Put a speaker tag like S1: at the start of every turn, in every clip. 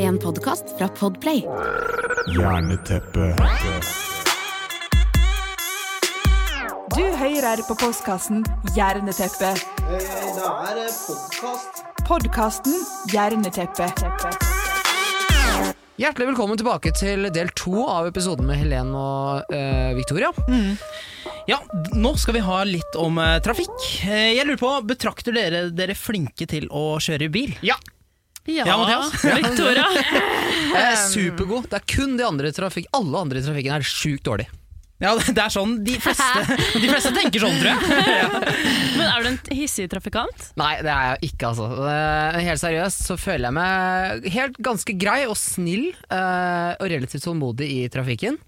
S1: En podcast fra Podplay
S2: Jerneteppe.
S3: Du hører på postkassen Hjerneteppe.
S4: Det Eh, er podkast.
S3: Podkasten Hjerneteppe.
S5: Hjertelig velkommen tilbake til del to av episoden med Helen og eh, Victoria.
S4: Ja, d- nå skal vi ha litt om eh, trafikk. Eh, jeg lurer på, Betrakter dere dere flinke til å kjøre bil?
S5: Ja.
S4: Ja, Mathias?
S6: Victoria.
S5: Jeg er supergod. Det er kun de andre i trafikk. Alle andre i trafikken er sjukt dårlig.
S4: Ja, det det er sånn de fleste, de fleste tenker sånn, tror jeg.
S6: Men er du en hissig trafikant?
S5: Nei, det er jeg ikke, altså. Eh, Helt seriøst så føler jeg meg helt ganske grei og snill eh, og relativt tålmodig i trafikken.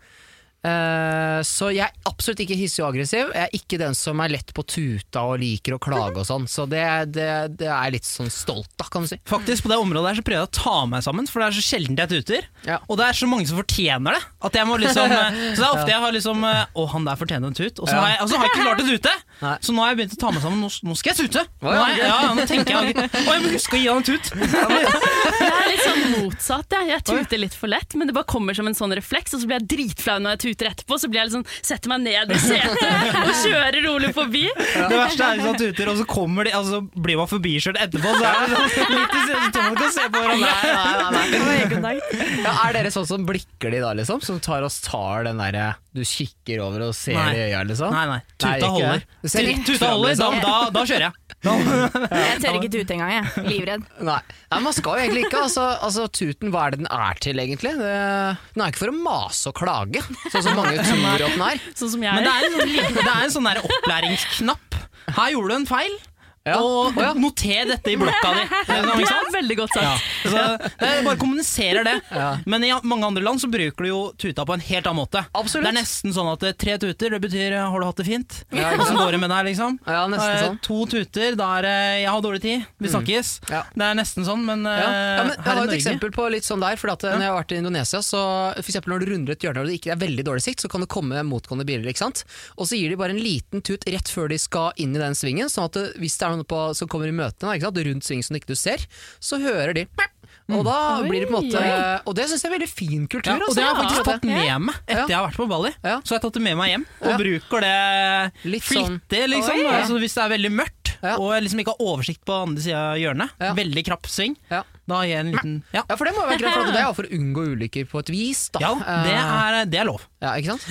S5: Eh, så jeg er absolutt ikke hissig og aggressiv. Jeg er ikke den som er lett på tuta og liker å klage og sånn. Så det, det, det er jeg litt sånn stolt av, kan du si.
S4: Faktisk, På det området her så prøver jeg å ta meg sammen, for det er så sjelden jeg tuter.
S5: Ja.
S4: Og det er så mange som fortjener det. At jeg må liksom, eh, så det er ofte jeg har liksom eh, Å, han der fortjener en tut. Og så
S5: Ja.
S4: har jeg, og så har jeg ikke klart å tute.
S5: Nei.
S4: Så nå har jeg begynt å ta meg sammen. Nå, nå skal jeg tute! Nå,
S5: ja,
S4: er- ja, nå tenker jeg Å, jeg må huske å gi han en tut!
S6: Jeg er litt sånn motsatt. Jeg, jeg tuter litt for lett, men det bare kommer som en sånn refleks, og så blir jeg dritflau når jeg tuter etterpå. Så blir jeg litt sånn, setter meg ned i setet og kjører rolig forbi.
S4: Det verste er hvis han tuter, og så kommer de, altså, blir man forbikjørt etterpå. Så er det sånn, litt i stedet, så man kan se på hverandre.
S5: Nei, nei, nei, nei. Ja, er dere sånn som blikker de da, liksom? Som tar og tar den derre du kikker over og ser
S4: Nei.
S5: i øya, liksom?
S4: Nei, nei.
S5: Nei, ikke.
S4: Tuta holder.
S5: Du ser
S4: Tu-
S5: rett
S4: Tuta
S5: frem,
S4: holder, da,
S5: liksom.
S4: da, da kjører jeg.
S7: Jeg tør ikke tute engang, jeg. Livredd.
S5: Nei. nei, man skal jo egentlig ikke. Altså, altså Tuten, hva er det den er til, egentlig? Det, den er ikke for å mase og klage, sånn som mange tror at den er.
S6: Sånn som
S4: Men
S6: jeg.
S4: det er en sånn, liten- det er en sånn der opplæringsknapp. Her gjorde du en feil,
S5: Ja.
S4: og
S5: Å, ja.
S4: noter dette i blokka di. Det er sånn,
S6: Det
S4: ikke sant?
S6: er veldig godt sagt.
S4: Så det er bare kommuniserer det. Men i mange andre land så bruker du jo tuta på en helt annen måte.
S5: Absolutt.
S4: Det er nesten sånn at eh, tre tuter, det betyr eh, 'har du hatt det fint'? Hvordan går det med deg, liksom?
S5: Ja, nesten
S4: Eh,
S5: sånn. Mm.
S4: To tuter, da er det 'jeg har dårlig tid, vi snakkes'.
S5: Ja.
S4: Det er nesten sånn, men, eh,
S5: Ja. Ja, men jeg
S4: her
S5: har
S4: i
S5: et
S4: Norge
S5: eksempel på litt sånn der. Fordi at eh, Når jeg har vært i Indonesia, så for eksempel når du runder et hjørne og det ikke er veldig dårlig sikt, så kan det komme motgående biler. ikke sant? Og så gir de bare en liten tut rett før de skal inn i den svingen. sånn at det, hvis det er noen på, som kommer i møtene, da, ikke sant? rundt svingen som ikke du ser, så hører de Og da blir det på en måte Og det syns jeg er veldig fin kultur.
S4: Mm. Ja, og det har jeg faktisk
S5: altså.
S4: tatt med meg etter
S5: Ja.
S4: jeg har vært på Bali.
S5: Ja.
S4: Så har jeg tatt det med meg hjem, og
S5: Ja.
S4: bruker det
S5: Litt sånn.
S4: flittig, liksom.
S5: Oi.
S4: Altså, hvis det er veldig mørkt,
S5: Ja.
S4: og jeg liksom ikke har oversikt på andre sida av hjørnet,
S5: Ja.
S4: veldig krapp sving,
S5: Ja.
S4: da gir jeg en liten Ja,
S5: Ja, for det må jo være greit, for at det er jo for å unngå ulykker på et vis. da.
S4: ja det,
S5: Eh,
S4: er, det er lov.
S5: ja, ikke sant?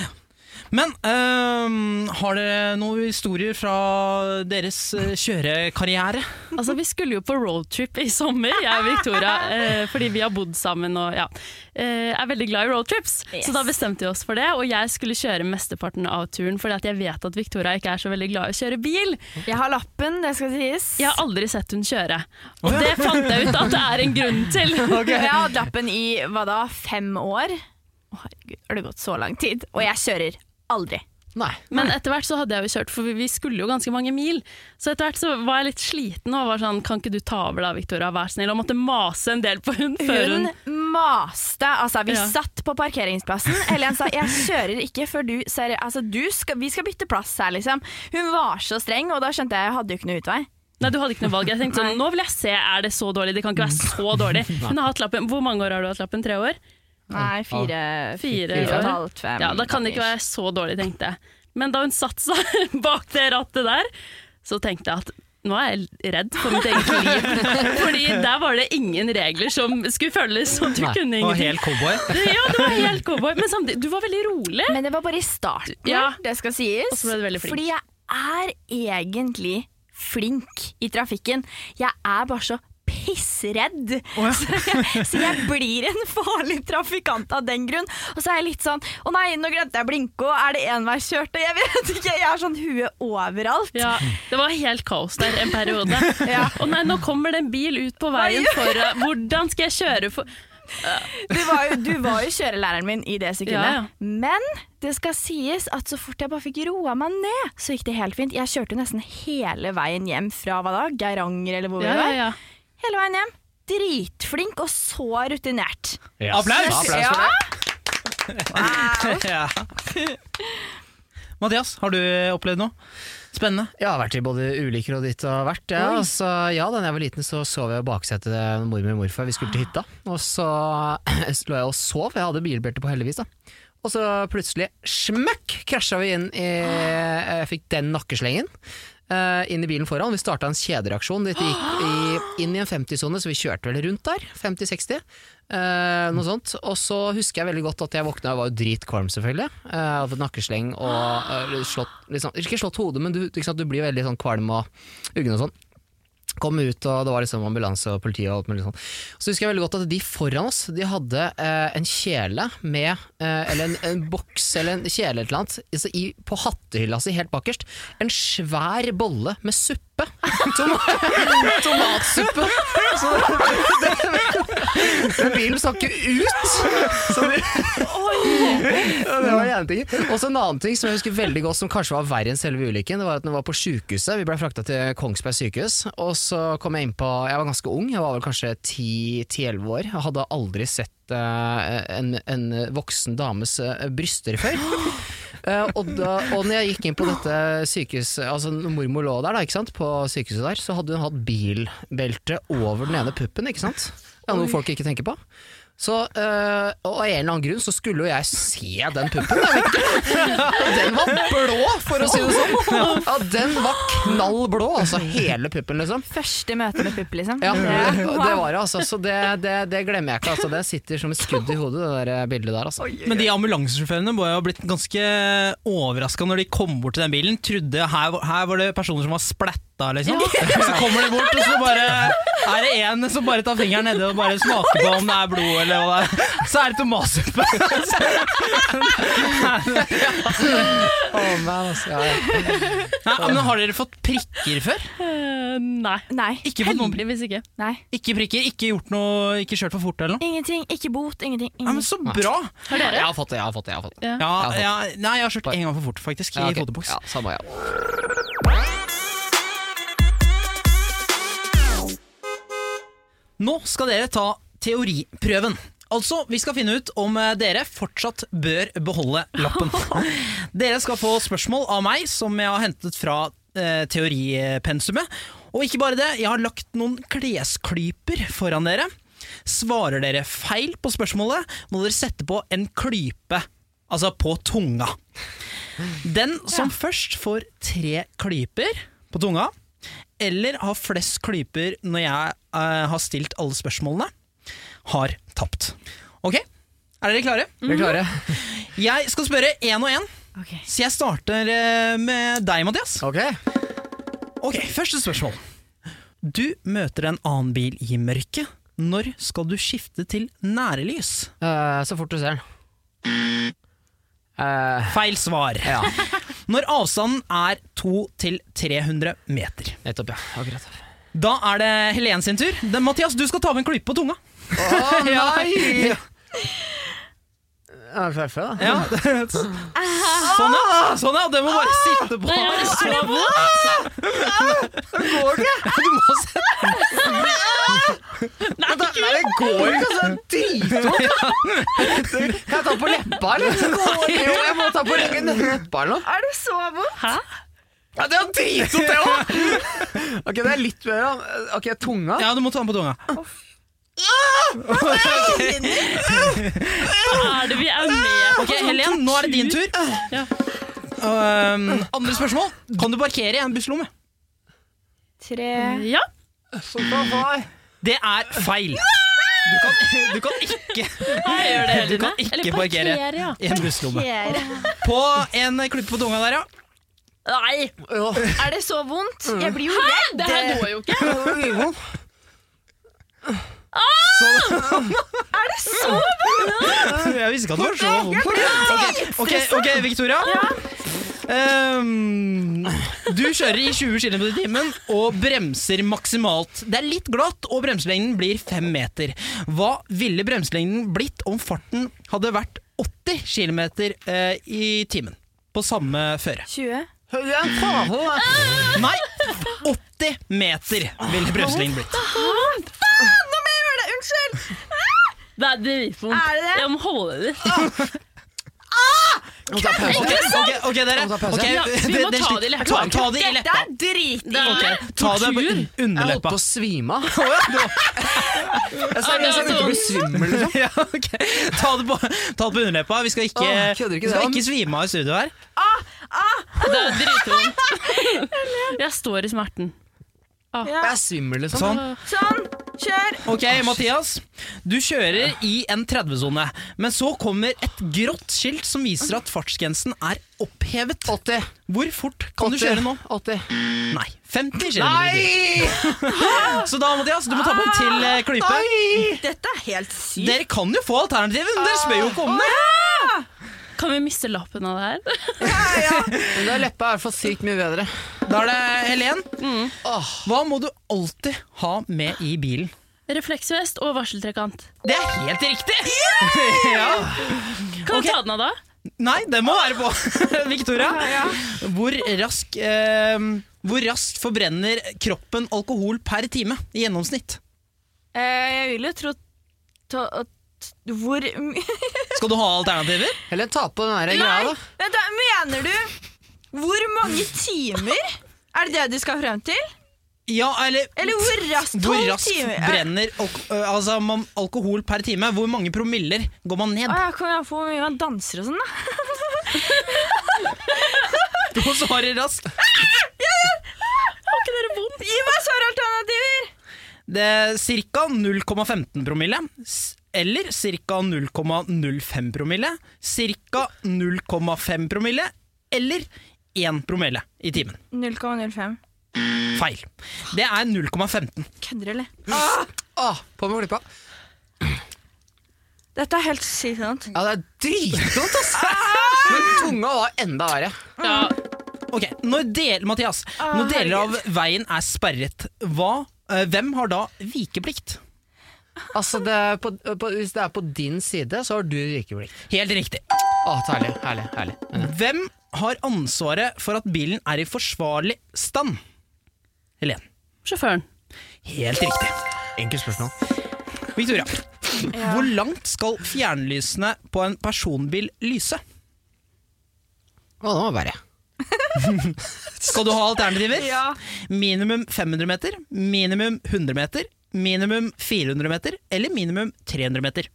S4: Men øhm, har dere noen historier fra deres eh, kjørekarriere?
S6: Altså, vi skulle jo på roadtrip i sommer, jeg og Victoria, eh, fordi vi har bodd sammen og ja, eh, er veldig glad i roadtrips. Så da bestemte vi oss for det, og jeg skulle kjøre mesteparten av turen, fordi at jeg vet at Victoria ikke er så veldig glad i å kjøre bil.
S7: Jeg har lappen, det skal sies.
S6: Jeg har aldri sett hun kjøre, og det fant jeg ut at det er en grunn til.
S7: Jeg har hatt lappen i hva da, fem år? Å, herregud, har det gått så lang tid? Og jeg kjører aldri.
S5: Nei.
S6: Men etter hvert så hadde jeg jo kjørt, for vi- vi skulle jo ganske mange mil. Så etter hvert så var jeg litt sliten og var sånn, kan ikke du ta over da, Victoria, vær snill, og måtte mase en del på hun før hun...
S7: Hun maste. Altså, vi
S6: Ja.
S7: satt på parkeringsplassen. Helen sa 'jeg kjører ikke før du ser Altså, du skal, vi skal bytte plass her', liksom. Hun var så streng, og da skjønte jeg jeg hadde jo ikke noe utvei.
S6: Nei, du hadde ikke noe valg. Jeg tenkte sånn, nå vil jeg se, er det så dårlig? Det kan ikke være så dårlig. Hun har hatt lappen, hvor mange år har du hatt lappen? Tre år?
S7: Nei, fire,
S6: Fire
S7: fire og et
S6: år.
S7: halvt, fem.
S6: Ja, da kan det ikke være så dårlig, tenkte jeg. Men da hun satt seg bak det rattet der, så tenkte jeg at nå er jeg redd for mitt eget liv. Fordi der var det ingen regler som skulle følges, og du
S5: Nei,
S6: kunne
S4: Og
S6: ingenting.
S4: helt cowboy?
S6: Ja, det var helt cowboy. Men samtidig, du var veldig rolig.
S7: Men det var bare i starten,
S6: Ja.
S7: det skal sies.
S6: Og så ble du veldig flink.
S7: Fordi jeg er egentlig flink i trafikken. Jeg er bare så pissredd. så, jeg, så jeg blir en farlig trafikant av den grunn. Og så er jeg litt sånn Å nei, nå glemte jeg å blinke, og er det enveiskjørt? Og jeg vet ikke, jeg har sånn hue overalt.
S6: Ja, det var helt kaos der en periode.
S7: Ja.
S6: Og nei, nå kommer det en bil ut på veien foran. Hvordan skal jeg kjøre for
S7: Du var, jo, du var jo kjørelæreren min i det sekundet.
S6: Ja, ja.
S7: Men det skal sies at så fort jeg bare fikk roa meg ned, så gikk det helt fint. Jeg kjørte jo nesten hele veien hjem fra hva da? Geiranger eller hvor vi
S6: Ja,
S7: var.
S6: ja, Eh, ja.
S7: Hele veien hjem. Dritflink og så rutinert.
S4: Applaus!
S5: Applaus for det.
S4: Ja. Mathias, har du opplevd noe spennende?
S5: Jeg har vært i både ulykker og ditt og hvert. Ja.
S4: Oi.
S5: Så, ja, da jeg var liten, så sov jeg i baksetet til mormor og morfar. Vi skulle til hytta. Og så lå jeg og sov. Jeg hadde bilbelte på, heldigvis. da. Og så plutselig, smøkk, krasja vi inn i Jeg fikk den nakkeslengen. eh, inn i bilen foran. Vi starta en kjedereaksjon. Dette gikk i, inn i en 50-sone, så vi kjørte vel rundt der. 50-60. eh, noe sånt. Og så husker jeg veldig godt at jeg våkna og var jo dritkvalm, selvfølgelig. Eh, Jeg hadde fått nakkesleng og eh, slått, liksom, Ikke slått hodet, men du, ikke sant, du blir veldig sånn kvalm og uggen og sånn. Kom ut, og det var liksom ambulanse og politi og alt mulig sånn. Så husker jeg veldig godt at de foran oss De hadde eh, en kjele med eh, Eller en, en boks eller en kjele eller et eller annet altså i, på hattehylla si helt bakerst. En svær bolle med suppe. Tom tomatsuppe. Så det, den bilen stakk jo ut! Så det, ja, det var en ting. Og så en annen ting som jeg husker veldig godt, som kanskje var verre enn selve ulykken, det var at når vi var på sykehuset, vi ble frakta til Kongsberg sykehus, og så kom jeg inn på, jeg var ganske ung, jeg var vel kanskje 10-11 år, jeg hadde aldri sett eh, en, en voksen dames eh, bryster før. Eh, og, da, og når jeg gikk inn på dette sykehuset, altså når mormor lå der da, ikke sant, på sykehuset der, så hadde hun hatt bilbelte over den ene puppen, ikke sant? Det er noe folk ikke tenker på. Så, øh, og av en eller annen grunn så skulle jo jeg se den puppen. Jeg vet ikke. Og den var blå, for å si det sånn! Ja, den var knallblå, altså hele puppen, liksom.
S7: Første møte med pupp, liksom.
S5: Ja, det, det var det, altså. Så det, det, det glemmer jeg ikke. Altså. Det sitter som et skudd i hodet, det der bildet der. Altså.
S4: Men de ambulansesjåførene må jo ha blitt ganske overraska når de kom bort til den bilen. Trodde her, her var det personer som var splatta, liksom. Og så kommer de bort, og så bare er det en som bare tar fingeren nedi og bare smaker på om det er blod eller hva det er. Så er det tomatsuppe.
S5: Oh, man, altså. Ja, ja.
S4: Nei, Men har dere fått prikker før?
S6: Eh, nei.
S7: Nei.
S4: Ikke fått noen
S6: Heldigvis ikke.
S7: Nei.
S4: Ikke prikker, ikke gjort noe, ikke kjørt for fort eller noe?
S7: Ingenting. Ikke bot. Ingenting.
S4: Ja, men
S7: ingenting.
S4: så bra!
S5: Jeg har fått det, jeg har fått det. Jeg har fått det.
S6: Ja.
S4: Ja, ja, nei, jeg har kjørt en gang for fort, faktisk.
S5: Ja,
S4: I
S5: ok.
S4: foteboks.
S5: Ja, samme, ja.
S4: Nå skal dere ta teoriprøven. Altså, Vi skal finne ut om eh, dere fortsatt bør beholde lappen. dere skal få spørsmål av meg som jeg har hentet fra eh, teoripensumet. Og ikke bare det, jeg har lagt noen klesklyper foran dere. Svarer dere feil på spørsmålet, må dere sette på en klype. Altså på tunga. Den som først får tre klyper på tunga, eller har flest klyper når jeg eh, har stilt alle spørsmålene, har tapt. Ok, er dere klare?
S5: Vi er klare?
S4: Jeg skal spørre én og én,
S7: Ok.
S4: så jeg starter eh, med deg, Mathias.
S5: Ok.
S4: Ok, Første spørsmål. Du møter en annen bil i mørket. Når skal du skifte til nærlys?
S5: Eh, så fort du ser den. Eh,
S4: Feil svar.
S5: ja,
S4: Når avstanden er 200-300 meter.
S5: nettopp, ja. Akkurat.
S4: Da er det Helen sin tur. Det, Mathias, du skal ta med en klype på tunga.
S5: Å nei! Er det da?
S4: Ja. Sånn, ja. Sånn, ja. Det må bare sitte på. Så
S5: går ikke!
S4: Du må sette
S5: Nei, det går ikke, altså! Dritvondt! Kan jeg ta på leppa, eller? Jo, jeg må ta på ryggen. Leppa eller noe?
S7: Er det så vondt?
S6: Hæ?
S5: Ja, det er dritvondt, det òg! Ok, det er litt bedre. da. Ok, tunga.
S4: Ja, du må ta den på tunga.
S6: Er det vi er med på
S4: Ok, Helen, nå er det din tur.
S6: Ja.
S4: Um, andre spørsmål. Kan du parkere i en busslomme?
S7: Tre
S6: Ja.
S4: Det er feil. Du kan, du kan ikke,
S6: Jeg gjør det
S4: du
S6: hele
S4: kan
S6: tiden.
S4: ikke parkere
S6: ja.
S4: i en busslomme.
S7: Fjerde.
S4: På en klype på tunga der, ja.
S7: Nei!
S5: Ja.
S7: Er det så vondt?
S4: Mm.
S7: Jeg blir jo redd.
S6: Det her går jo ikke.
S4: Jeg visste ikke at det var så vondt. Ok, ok, ok, Victoria. Um, du kjører i 20 km i timen og bremser maksimalt. Det er litt glatt, og bremselengden blir 5 meter. Hva ville bremselengden blitt om farten hadde vært 80 km i timen? På samme føre.
S7: 20.
S5: Ja, faen, da.
S4: Nei, 80 meter ville bremselengden blitt.
S7: Nå må jeg gjøre det! Unnskyld!
S6: Det er dritvondt.
S7: Er det det?
S6: Jeg må holde det.
S5: Må ta pause.
S4: Ok, ok, ok, dere.
S5: Må ta pause.
S4: Ok,
S6: Ja, vi må
S4: den
S6: ta
S4: slik-
S6: det i leppa.
S4: Ta, ta det i
S7: Dette
S4: leppa.
S7: er dritdyrt!
S6: er-
S4: Ok, Ta det på un-
S5: Jeg holdt
S4: underleppa.
S5: på å svime av.
S4: Å, ja, det var-
S5: Jeg sa jeg sa jeg kom til å bli svimmel. liksom.
S4: Ja, ok. Ta det på, ta det på underleppa. Vi skal ikke,
S5: Åh, kødder ikke
S4: vi skal
S5: det,
S4: ikke svime av i studio her.
S5: Ah,
S6: Det er dritvondt. Jeg står i smerten.
S5: Jeg er svimmel, liksom.
S4: Sånn.
S7: Sånn, kjør!
S4: Ok, Mathias. Du kjører i en 30-sone, men så kommer et grått skilt som viser at fartsgrensen er opphevet.
S5: 80.
S4: Hvor fort kan du kjøre nå?
S5: 80.
S4: Nei. 50 km. Så da, Mathias, du må ta på en til eh, klype.
S7: Dette er helt sykt.
S4: Dere kan jo få alternativet, men dere spør jo ikke om det.
S6: Kan vi miste lappen av det her?
S5: Men da er leppa i hvert fall sykt mye bedre.
S4: Da er det Helen.
S7: Mm.
S4: Hva må du alltid ha med i bilen?
S6: Refleksvest og varseltrekant.
S4: Det er helt riktig! ja.
S6: Kan
S4: Ok.
S6: du ta den av da?
S4: Nei, den må være på! Victoria, hvor rask, eh, hvor raskt forbrenner kroppen alkohol per time i gjennomsnitt?
S7: Eh, jeg vil jo tro ta, at, Hvor my-
S4: Skal du ha alternativer?
S5: Eller ta på den her
S7: Nei,
S5: greia, da.
S7: vent da, mener du Hvor mange timer? Er det det du skal frem til?
S4: Ja, eller
S7: Eller hvor raskt?
S4: Hvor
S7: 12
S4: raskt
S7: timer?
S4: brenner alko eh, altså, man, alkohol per time? Hvor mange promiller går man ned?
S7: Å, jeg kommer an på hvor mye man danser og sånn, da.
S4: Du må svare raskt.
S7: Gi meg svaralternativer!
S4: Det er Cirka 0,15 promille. s- Eller ca. 0,05 promille. Ca. 0,5 promille. Eller 1 promille i timen.
S7: 0,05.
S4: Feil. Det er 0,15.
S7: Kødder du, eller?
S5: Åh, på med klypa.
S7: Dette er helt sykt sant.
S5: Ja, det er dritvondt, ass! Men tunga var enda verre.
S6: Ja,
S4: Ok, når del, Mathias, når deler av veien er sperret, hva, eh, hvem har da vikeplikt?
S5: Altså, det er på, på, Hvis det er på din side, så har du rikeblikt.
S4: Helt riktig.
S5: Åh, herlig, herlig, herlig. Mm,
S4: Hvem har ansvaret for at bilen er i forsvarlig stand? Helen.
S6: sjåføren.
S4: Helt riktig.
S5: Enkelt spørsmål.
S4: Victoria, hvor langt skal fjernlysene på en personbil lyse?
S5: Å, det var verre.
S4: Skal du ha alternativer?
S7: Ja.
S4: Minimum 500 meter, minimum 100 meter, minimum 400 meter eller minimum 300 meter.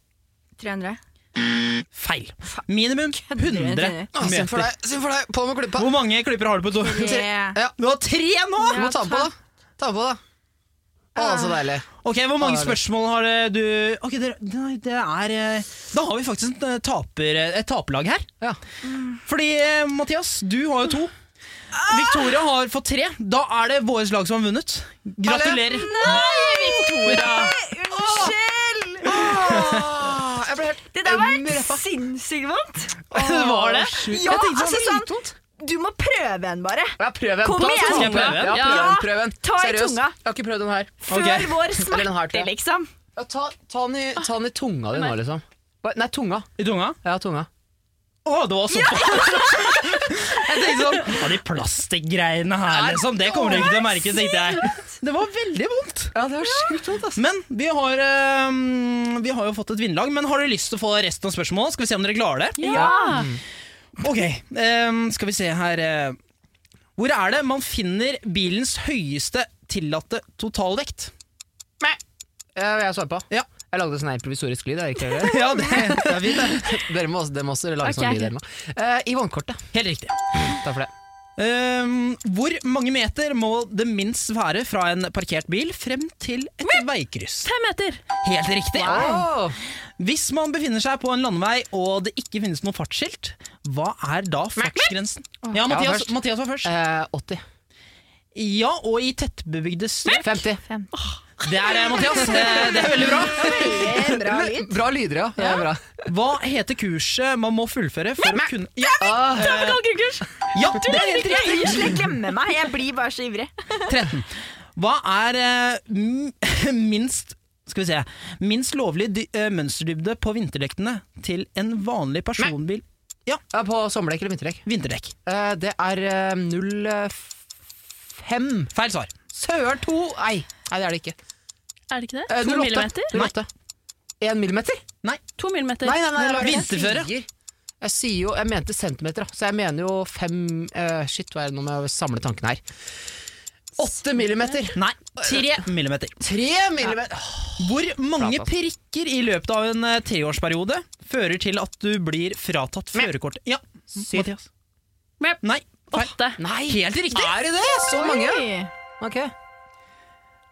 S7: 300.
S4: Feil. Minimum 100
S5: Åh, Synd Altså, for
S4: meter.
S5: deg, synd for deg. På med klypa.
S4: Hvor mange klipper har du på to?
S7: Tre.
S5: Ja,
S4: Du har tre nå!
S5: du må ta den på, da. Ta den på, da. Å, så deilig.
S4: Ok, Hvor mange
S5: Ja, det-
S4: spørsmål har eh, du Ok, det, nei, det er eh, Da har vi faktisk en, eh, taper, et taperlag her.
S5: Ja.
S4: Fordi, eh, Mathias, du har jo to. Victoria har fått tre. Da er det vårt lag som har vunnet. Gratulerer.
S7: Unnskyld!
S5: Åh, jeg ble helt
S7: Det der
S5: øm i leppa.
S7: var sinnssykt vondt.
S4: var det?
S7: Ja,
S5: Jeg tenkte sånn,
S7: altså sånn Du må prøve en, bare.
S5: Ja, prøv en.
S7: Kom
S5: Ta
S7: igjen,
S5: tunga.
S4: Skal jeg prøve en?
S5: Ja, prøv
S7: Ja,
S5: en, prøv en.
S7: ta i
S5: Seriøst,
S7: tunga.
S5: Jeg har ikke prøvd den her.
S7: Før
S4: Ok.
S7: vår
S5: Eller den her, tror
S7: smerte,
S5: jeg.
S7: liksom.
S5: Ja, ta, ta, den i, ta den i tunga di nå, liksom. Bare- Nei, tunga.
S4: I tunga?
S5: Ja, tunga.
S4: Å, det var såpass! jeg tenkte sånn Hva er de plastikkgreiene her, liksom? Det kommer du ikke til å merke, tenkte jeg. Det var veldig vondt.
S5: Ja, det var sjukt vondt, ass.
S4: Men vi har, eh, vi har jo fått et vinnerlag. Men har dere lyst til å få resten av spørsmålet? Skal vi se om dere klarer det?
S6: Ja!
S4: Ok, eh, skal vi se her eh. Hvor er det man finner bilens høyeste tillatte totalvekt?
S5: Ja, jeg svarer på.
S4: Ja.
S5: Jeg lagde sånn her provisorisk lyd. Er ikke det?
S4: Ja, det, det er fint, det.
S5: dere, må også, dere må også lage
S6: Ok.
S5: sånn lyd. Dere nå. Eh, I vognkortet.
S4: Helt riktig.
S5: Takk for det.
S4: Eh, hvor mange meter må det minst være fra en parkert bil frem til et veikryss?
S6: Fem meter!
S4: Helt riktig.
S5: Wow.
S4: Hvis man befinner seg på en landevei og det ikke finnes noe fartsskilt, hva er da fartsgrensen? Ja, Mathias,
S5: først.
S4: Mathias var først.
S5: Eh, 80.
S4: Ja, og i tettbebygde strøk.
S5: 50.
S4: Det er eh, Mathias. Eh, Det er veldig bra.
S5: Bra, lyd. bra lyder, ja. Det er bra.
S4: Hva heter kurset man må fullføre for å kunne Ja,
S5: Ah,
S6: Kalkrukurs!
S4: ja det er helt
S7: Jeg
S4: riktig!
S7: unnskyld, jeg glemmer meg. Jeg blir bare så ivrig.
S4: 13. Hva er eh, m- minst skal vi se, minst lovlig dy eh, mønsterdybde på vinterdekkene til en vanlig personbil
S5: ja, på sommerdekk eller vinterdekk?
S4: Vinterdekk.
S5: Eh, det er eh, 05
S4: Feil svar.
S5: Søren 2 Nei. Nei, det er det ikke.
S6: Er det ikke det?
S5: Eh,
S6: To
S5: 08.
S6: millimeter?
S5: 08. 1 millimeter?
S6: To millimeter.
S5: Nei, nei, nei,
S4: Vinterføre.
S5: Jeg sier. Jeg sier jo, jeg mente centimeter, da, så jeg mener jo fem eh, Shit, hva er det nå må jeg samle tankene her? Åtte millimeter!
S4: Nei, tre millimeter.
S5: Tre millimeter! Åh,
S4: Hvor mange
S5: Fratatt.
S4: prikker i løpet av en eh, treårsperiode fører til at du blir fratatt førerkortet? Ja, Mathias.
S6: Mep.
S4: Nei. feil.
S6: Åtte.
S5: Nei!
S4: Helt riktig!
S5: Er det det? Så mange?
S7: Oi.
S5: Ok.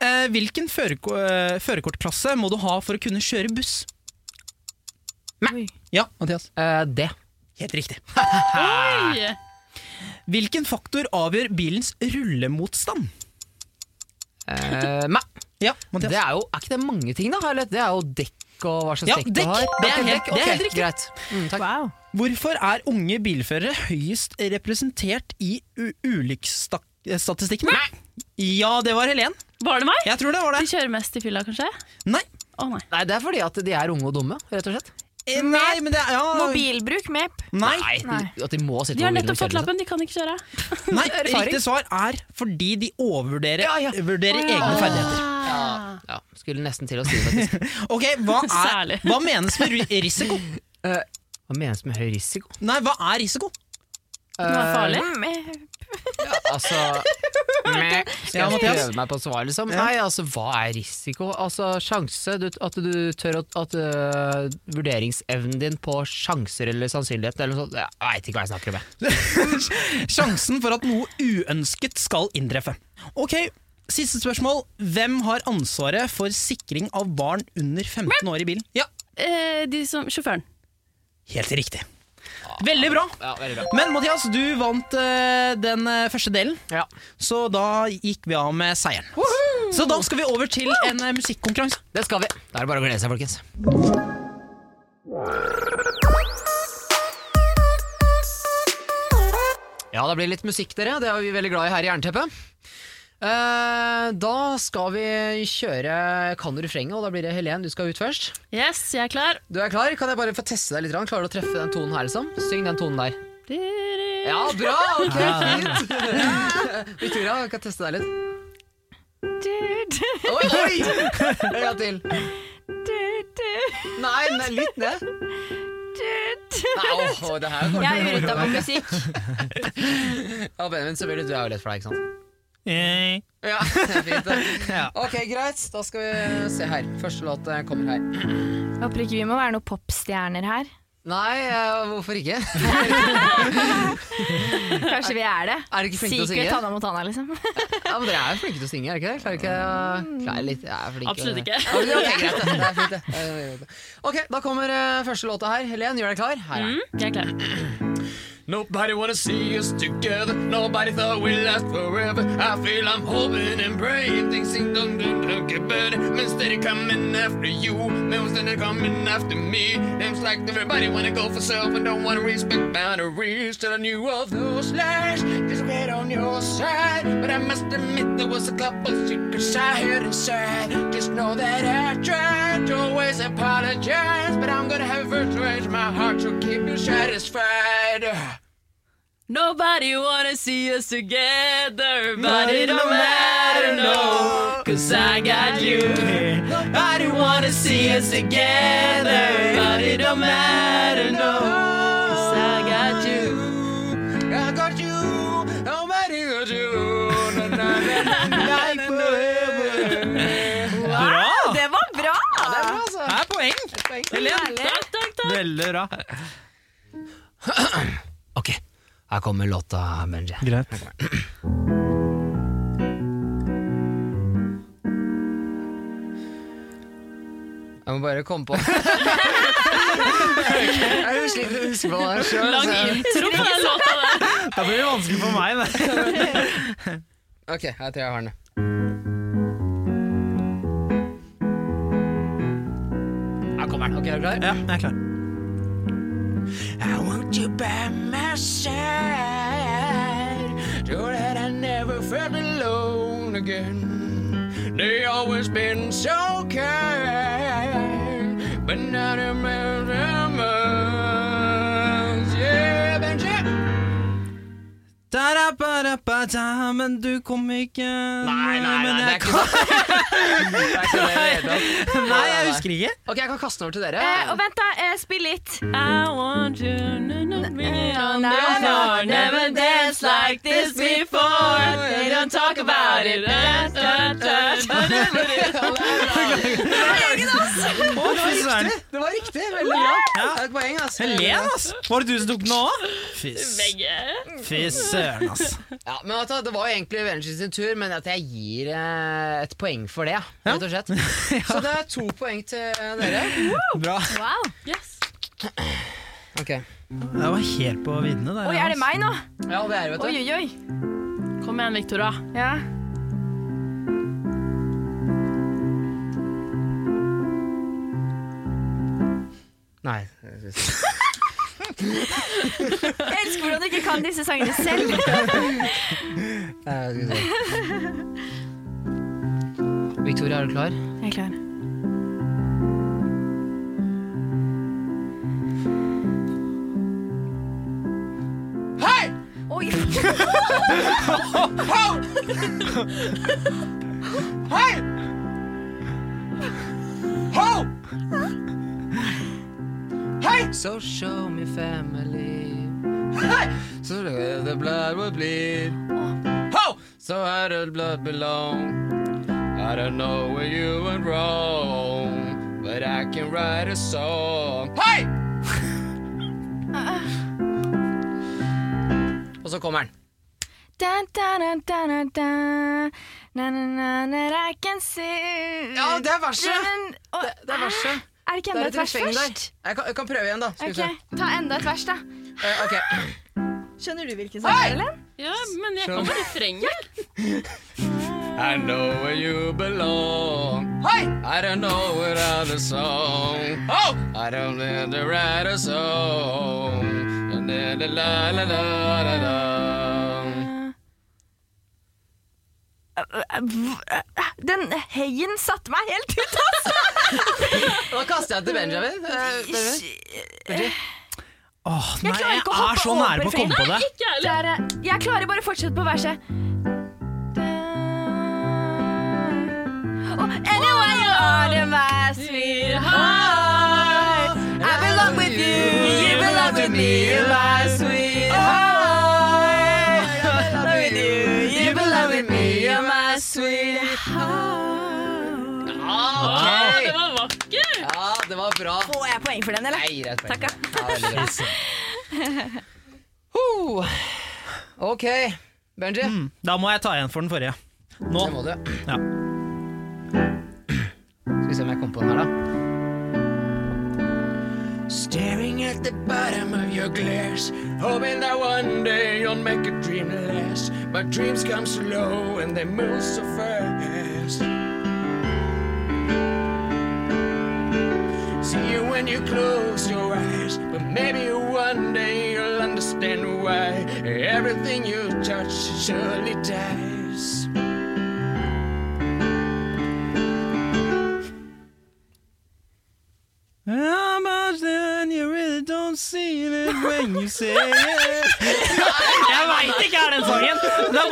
S4: Eh, Hvilken førerko- eh, førerkortklasse må du ha for å kunne kjøre buss?
S7: Oi.
S4: Ja, Mathias.
S5: Eh, det.
S4: Helt riktig.
S6: Oi!
S4: Hvilken faktor avgjør bilens rullemotstand?
S5: Eh, meg.
S4: Ja,
S5: Det
S4: Mathias.
S5: er jo, er ikke det mange ting, da? Eller? Det er jo dekk og hva slags
S4: Ja,
S5: dekk,
S4: dekk.
S5: du har.
S4: Det
S5: Ok,
S4: er helt-
S5: dekk.
S4: det er
S5: Ok,
S4: helt riktig.
S5: Greit. Mm, takk.
S7: Wow.
S4: Hvorfor er unge bilførere høyest representert i u- ulykkesstatistikken? Ja, det var Helen.
S6: Var det meg?
S4: Jeg tror det var
S6: De
S4: det.
S6: kjører mest i fylla, kanskje? Å
S4: Nei,
S6: nei.
S5: Nei, det er fordi at de er unge og dumme, rett og slett.
S4: Eh, nei men det er ja.
S7: Mobilbruk, MEP.
S4: Nei,
S7: Nei.
S5: de- At de må sitte
S6: De har
S5: mobilen og
S6: nettopp fått
S5: kjøre seg.
S6: lappen, de kan ikke kjøre.
S4: nei,
S5: Erfaring.
S4: riktig svar er fordi de overvurderer
S5: Ja, ja.
S4: vurderer egne ferdigheter.
S5: Ja, skulle nesten til å si det, faktisk.
S4: Ok, hva, er,
S6: Særlig.
S4: hva menes med ri- risiko?
S5: Hva menes med høy risiko?
S4: Nei, hva er risiko?
S6: Det var farlig.
S7: MEP.
S5: Altså meh.
S4: Ja,
S5: Skal jeg
S4: Mathias.
S5: prøve meg på å svare, liksom? Nei, altså, hva er risiko? Altså, sjanse du, At du tør å At øh, vurderingsevnen din på sjanser eller sannsynligheten eller noe sånt Jeg veit ikke hva jeg snakker om. jeg.
S4: Sjansen for at noe uønsket skal inntreffe. Ok, siste spørsmål. Hvem har ansvaret for sikring av barn under 15 år i bilen? Ja,
S6: Eh, de som, sjåføren.
S4: helt riktig. Veldig bra.
S5: Ja, veldig bra.
S4: Men Mathias, du vant eh, den eh, første delen,
S5: Ja.
S4: så da gikk vi av med seieren. Så da skal vi over til en eh, musikkonkurranse.
S5: Det skal vi. Da er det bare å glede seg, folkens. Ja, det blir litt musikk, dere. Det er vi veldig glad i her i Jernteppet. Eh, da skal vi kjøre Kan du refrenget, og da blir det Helen du skal ut først.
S6: Yes, jeg er klar.
S5: Du er klar? Kan jeg bare få teste deg litt? grann? Klarer du å treffe den tonen her, liksom? Syng den tonen der.
S6: Ja.
S5: Ja, bra! Ok, fint. Victoria, kan jeg teste deg litt? Oi, oi! En gang til. Nei, nei, litt ned. Nei, åh, det her går
S7: Jeg er ute av musikk.
S5: Ja, Benjamin, så blir det du er jo lett for deg, ikke sant?
S4: Eh,
S5: Ja, fint det.
S4: Ja.
S5: Ok, greit. Da skal vi se her. Første låt eh, kommer her.
S7: Håper ikke vi må være noen popstjerner her.
S5: Nei, eh, hvorfor ikke?
S7: Kanskje vi er det.
S5: Er du ikke flink til å
S7: Secret
S5: synge?
S7: Hanna Montana, liksom.
S5: Ja, men Dere er jo flinke til å synge, er dere ikke det? Klarer ikke å- Klarer litt, jeg er flink.
S6: Absolutt ikke.
S5: Ja, men det er ok, greit, det. Det er fint, det. Det er greit, det. Ok, da kommer eh, første låta her. Helen, gjør deg klar. Her er den.
S6: Mm, jeg er klar.
S5: Nobody wanna see us together. Nobody thought we last forever. I feel I'm hoping and praying things ain't gonna get better. But instead of coming after you, now instead of coming after me, names like everybody wanna go for self and don't wanna respect boundaries. Telling you all those lies, just get on your side. But I must admit there was a couple secrets I hid inside. Just know that I tried to always apologize, but I'm gonna have her raise my heart to keep you satisfied.
S6: Nobody wanna see us together, but it don't matter, no, cause I got you. Nobody wanna see us together, but it don't matter, no, cause I got you.
S5: I got you, nobody got you. Na, na, na, na, like forever.
S4: Bra!
S7: Det var bra!
S4: Det er poeng. Helen,
S6: Takk, takk, takk.
S4: veldig bra.
S5: Ok, her kommer låta, Benji.
S4: Greit.
S5: Jeg må bare komme på Jeg husker ikke å huske på det sjøl.
S6: Lang intro på den låta der.
S4: Da blir det vanskelig for meg. Det.
S5: Ok, jeg tror jeg har den. Her kommer den. Ok, er du klar?
S4: Ja, jeg er klar.
S5: I want you by my side. So that I never felt alone again. They always been so kind. But not a man Yeah, Benji.
S4: Da-da-ba-da-ba-da-ba. ja, men du kom ikke
S5: Nei, nei, nei,
S4: men
S5: det er
S4: jeg
S5: ikke sånn. Det er ikke det i det hele tatt.
S4: kan- nei, jeg husker ikke.
S5: Ok, jeg kan kaste den over til dere.
S7: Eh, og vent, da. Eh, spill litt.
S6: I want you to not be on the
S7: Nei,
S6: floor,
S7: no,
S6: never danced like this before. They don't talk about it. Da, da, da, da, da.
S4: Å, fy søren.
S5: Det var riktig. Veldig bra.
S4: Ja.
S5: Det er et poeng, altså. ass.
S4: Helen, ass! Var det du som tok den òg? Fy s-
S6: Begge.
S4: fy søren, ass.
S5: Ja, men vet du, Det var jo egentlig Vengeance sin tur, men at jeg gir eh, et poeng for det. Rett og slett. Så det er to poeng til eh, dere.
S4: Bra.
S7: Wow.
S6: Yes.
S5: Ok.
S4: Det var helt på viddene der.
S7: Oi, er det meg nå?
S5: Ja, det er det, vet
S7: Oi,
S5: du.
S7: oi, oi.
S6: Kom igjen, Victoria.
S7: Ja.
S5: Nei. Eh,
S7: Jeg elsker hvordan du ikke kan disse sangene selv.
S5: Eh, skal vi se. Victoria, er du klar?
S7: Jeg er klar.
S5: Hei!
S7: Oi.
S5: Hei! Ho! Hei! So show me family. Hei! Så det blær hvor blir. Ho! So I don't blood belong. I don't know where you went wrong. But I can write a song. Hei! Og så kommer den.
S7: Dun, dun, dun, dun, dun, dun. Na, na, na, na, I can see.
S5: Ja, det er verset.
S7: Dun, og-
S5: Det er verset.
S7: Er det ikke
S5: Det er
S7: enda et
S5: et
S7: vers
S5: refreng der.
S7: først?
S5: Jeg kan, jeg kan prøve igjen, da. Skal vi se.
S7: Ok, Ta enda et vers, da.
S5: Eh, ok.
S7: Skjønner du hvilken sang det er, Ellen?
S6: Ja, men jeg kan bare frenge.
S5: I know where you belong. Hey! I don't know without a song. Oh! I don't need to write a song. La, la, la, la, la, la, la.
S7: Den heien satte meg helt ut av
S5: Da kaster jeg til Benjamin. Eh, Benjamin.
S4: Åh, nei,
S7: klarer
S4: jeg
S7: ikke å hoppe
S4: er så nære på
S7: over
S4: å komme på det.
S6: Ikke jeg
S7: Det
S6: heller.
S7: er, eh, Jeg klarer bare å fortsette på verset. Oh, anyway, you are the my sweetheart. I belong with you, you belong with me, you my sweetheart. I belong with you, you belong with me, you my sweetheart.
S6: Å, Det
S5: Ok!
S6: var vakkert.
S5: Ja,
S7: Ah,
S5: det var bra.
S7: Får jeg poeng for den, eller?
S5: Nei, rett poeng. Ja, veldig bra. Huh. Ok, Benji.
S4: Mm, Da må jeg ta igjen for den forrige. Nå.
S5: Det må du.
S4: Ja.
S5: Skal vi se om jeg kommer på den her, da. Staring at the bottom of your glass Hoping that one day you'll make a dream last But dreams come slow and they move so fast See you when you close your eyes But maybe one day you'll understand why Everything you touch surely dies
S4: How much then you really don't see it when you say it. Jeg veit ikke er den sangen! Det er bare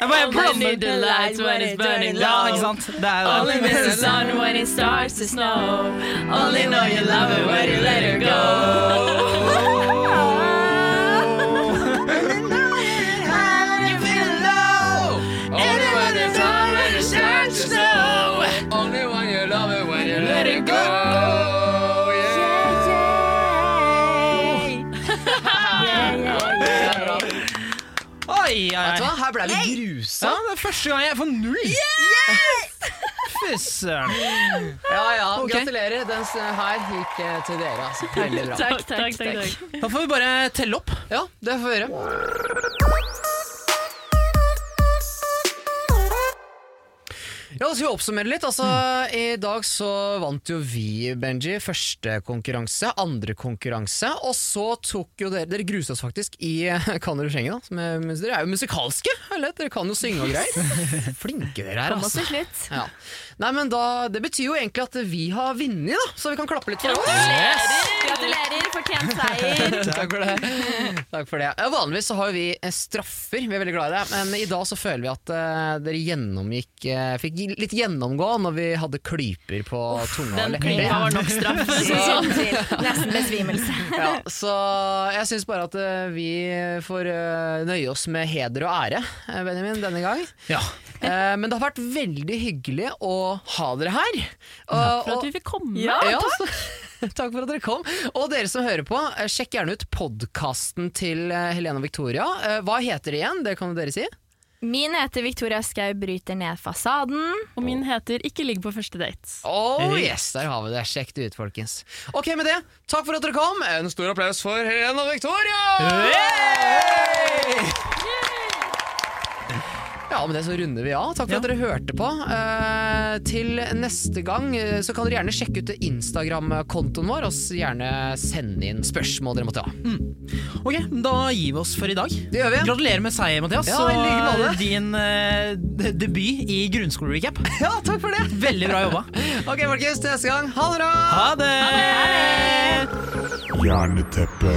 S4: Jeg bare blander.
S6: the lights when it's burning
S4: Ja, ikke sant? Det
S6: Only
S4: er
S6: miss the
S4: jo det.
S6: sun when it starts to snow. Only know you love her when you let her go.
S5: Only when you love it when you start to snow. Only when you love it when you let it go.
S4: Oi, oi, oi.
S5: Her ble vi grusa.
S4: Ja, det er første gang jeg får null. Fy søren.
S5: Ja, ja.
S4: Ok.
S5: Gratulerer. Den s- her gikk eh, til dere. Altså. Veldig bra.
S6: Takk, takk, takk. takk.
S4: Da får vi bare telle opp.
S5: Ja, det får vi gjøre. Ja, så vi oppsummerer litt. Altså, I dag så vant jo vi, Benji, første konkurranse, andre konkurranse. Og så tok jo dere Dere gruset oss faktisk i Kan dere synge, da? Som er, men dere er jo musikalske! Eller? Dere kan jo synge og greier. Flinke dere er,
S7: Kom oss
S5: altså.
S7: til slutt.
S5: Ja. Nei, men da, Det betyr jo egentlig at vi har vunnet, da. Så vi kan klappe litt for oss.
S4: Yes.
S7: Gratulerer, fortjent seier.
S4: Takk for det. Takk for det. Ja, Vanligvis så har jo vi eh, straffer, vi er veldig glad i det. Men i dag så føler vi at eh, dere gjennomgikk eh, Fikk gi- litt gjennomgå når vi hadde klyper på tunga. og
S6: Den
S4: lepper.
S6: klypa var nok straff. Så, så.
S7: Nesten besvimelse.
S4: Ja, så jeg syns bare at eh, vi får eh, nøye oss med heder og ære, eh, Benjamin, denne gang.
S8: Ja.
S4: Eh, Men det har vært veldig hyggelig å ha dere her. Eh, Og,
S6: For at vi fikk komme.
S4: Ja, takk. takk for at dere kom. Og dere som hører på, eh, sjekk gjerne ut podkasten til eh, Helene og Victoria. Eh, Hva heter det igjen? Det kan jo dere si.
S7: Min heter Victoria Skau bryter ned fasaden.
S6: Og min heter 'Ikke ligg på første date'.
S4: Oh, yes, der har vi det. Sjekk det ut, folkens. Ok, med det, takk for at dere kom. En stor applaus for Helene og Victoria! Ja, med det så runder vi av. Takk for at dere hørte på. Eh, til neste gang eh, så kan dere gjerne sjekke ut Instagram-kontoen vår, og s- gjerne sende inn spørsmål dere måtte ha.
S8: Mm. Ok, da gir vi oss for i dag.
S4: Det gjør vi.
S8: Gratulerer med seier, Mathias.
S4: Ja, i like måte.
S8: og din eh, d- debut i grunnskolerecap.
S4: Ja, takk for det!
S8: Veldig bra jobba.
S4: Ok, folkens, til neste gang. Ha det
S8: Ha
S4: bra!
S8: det!
S2: Hjerneteppe.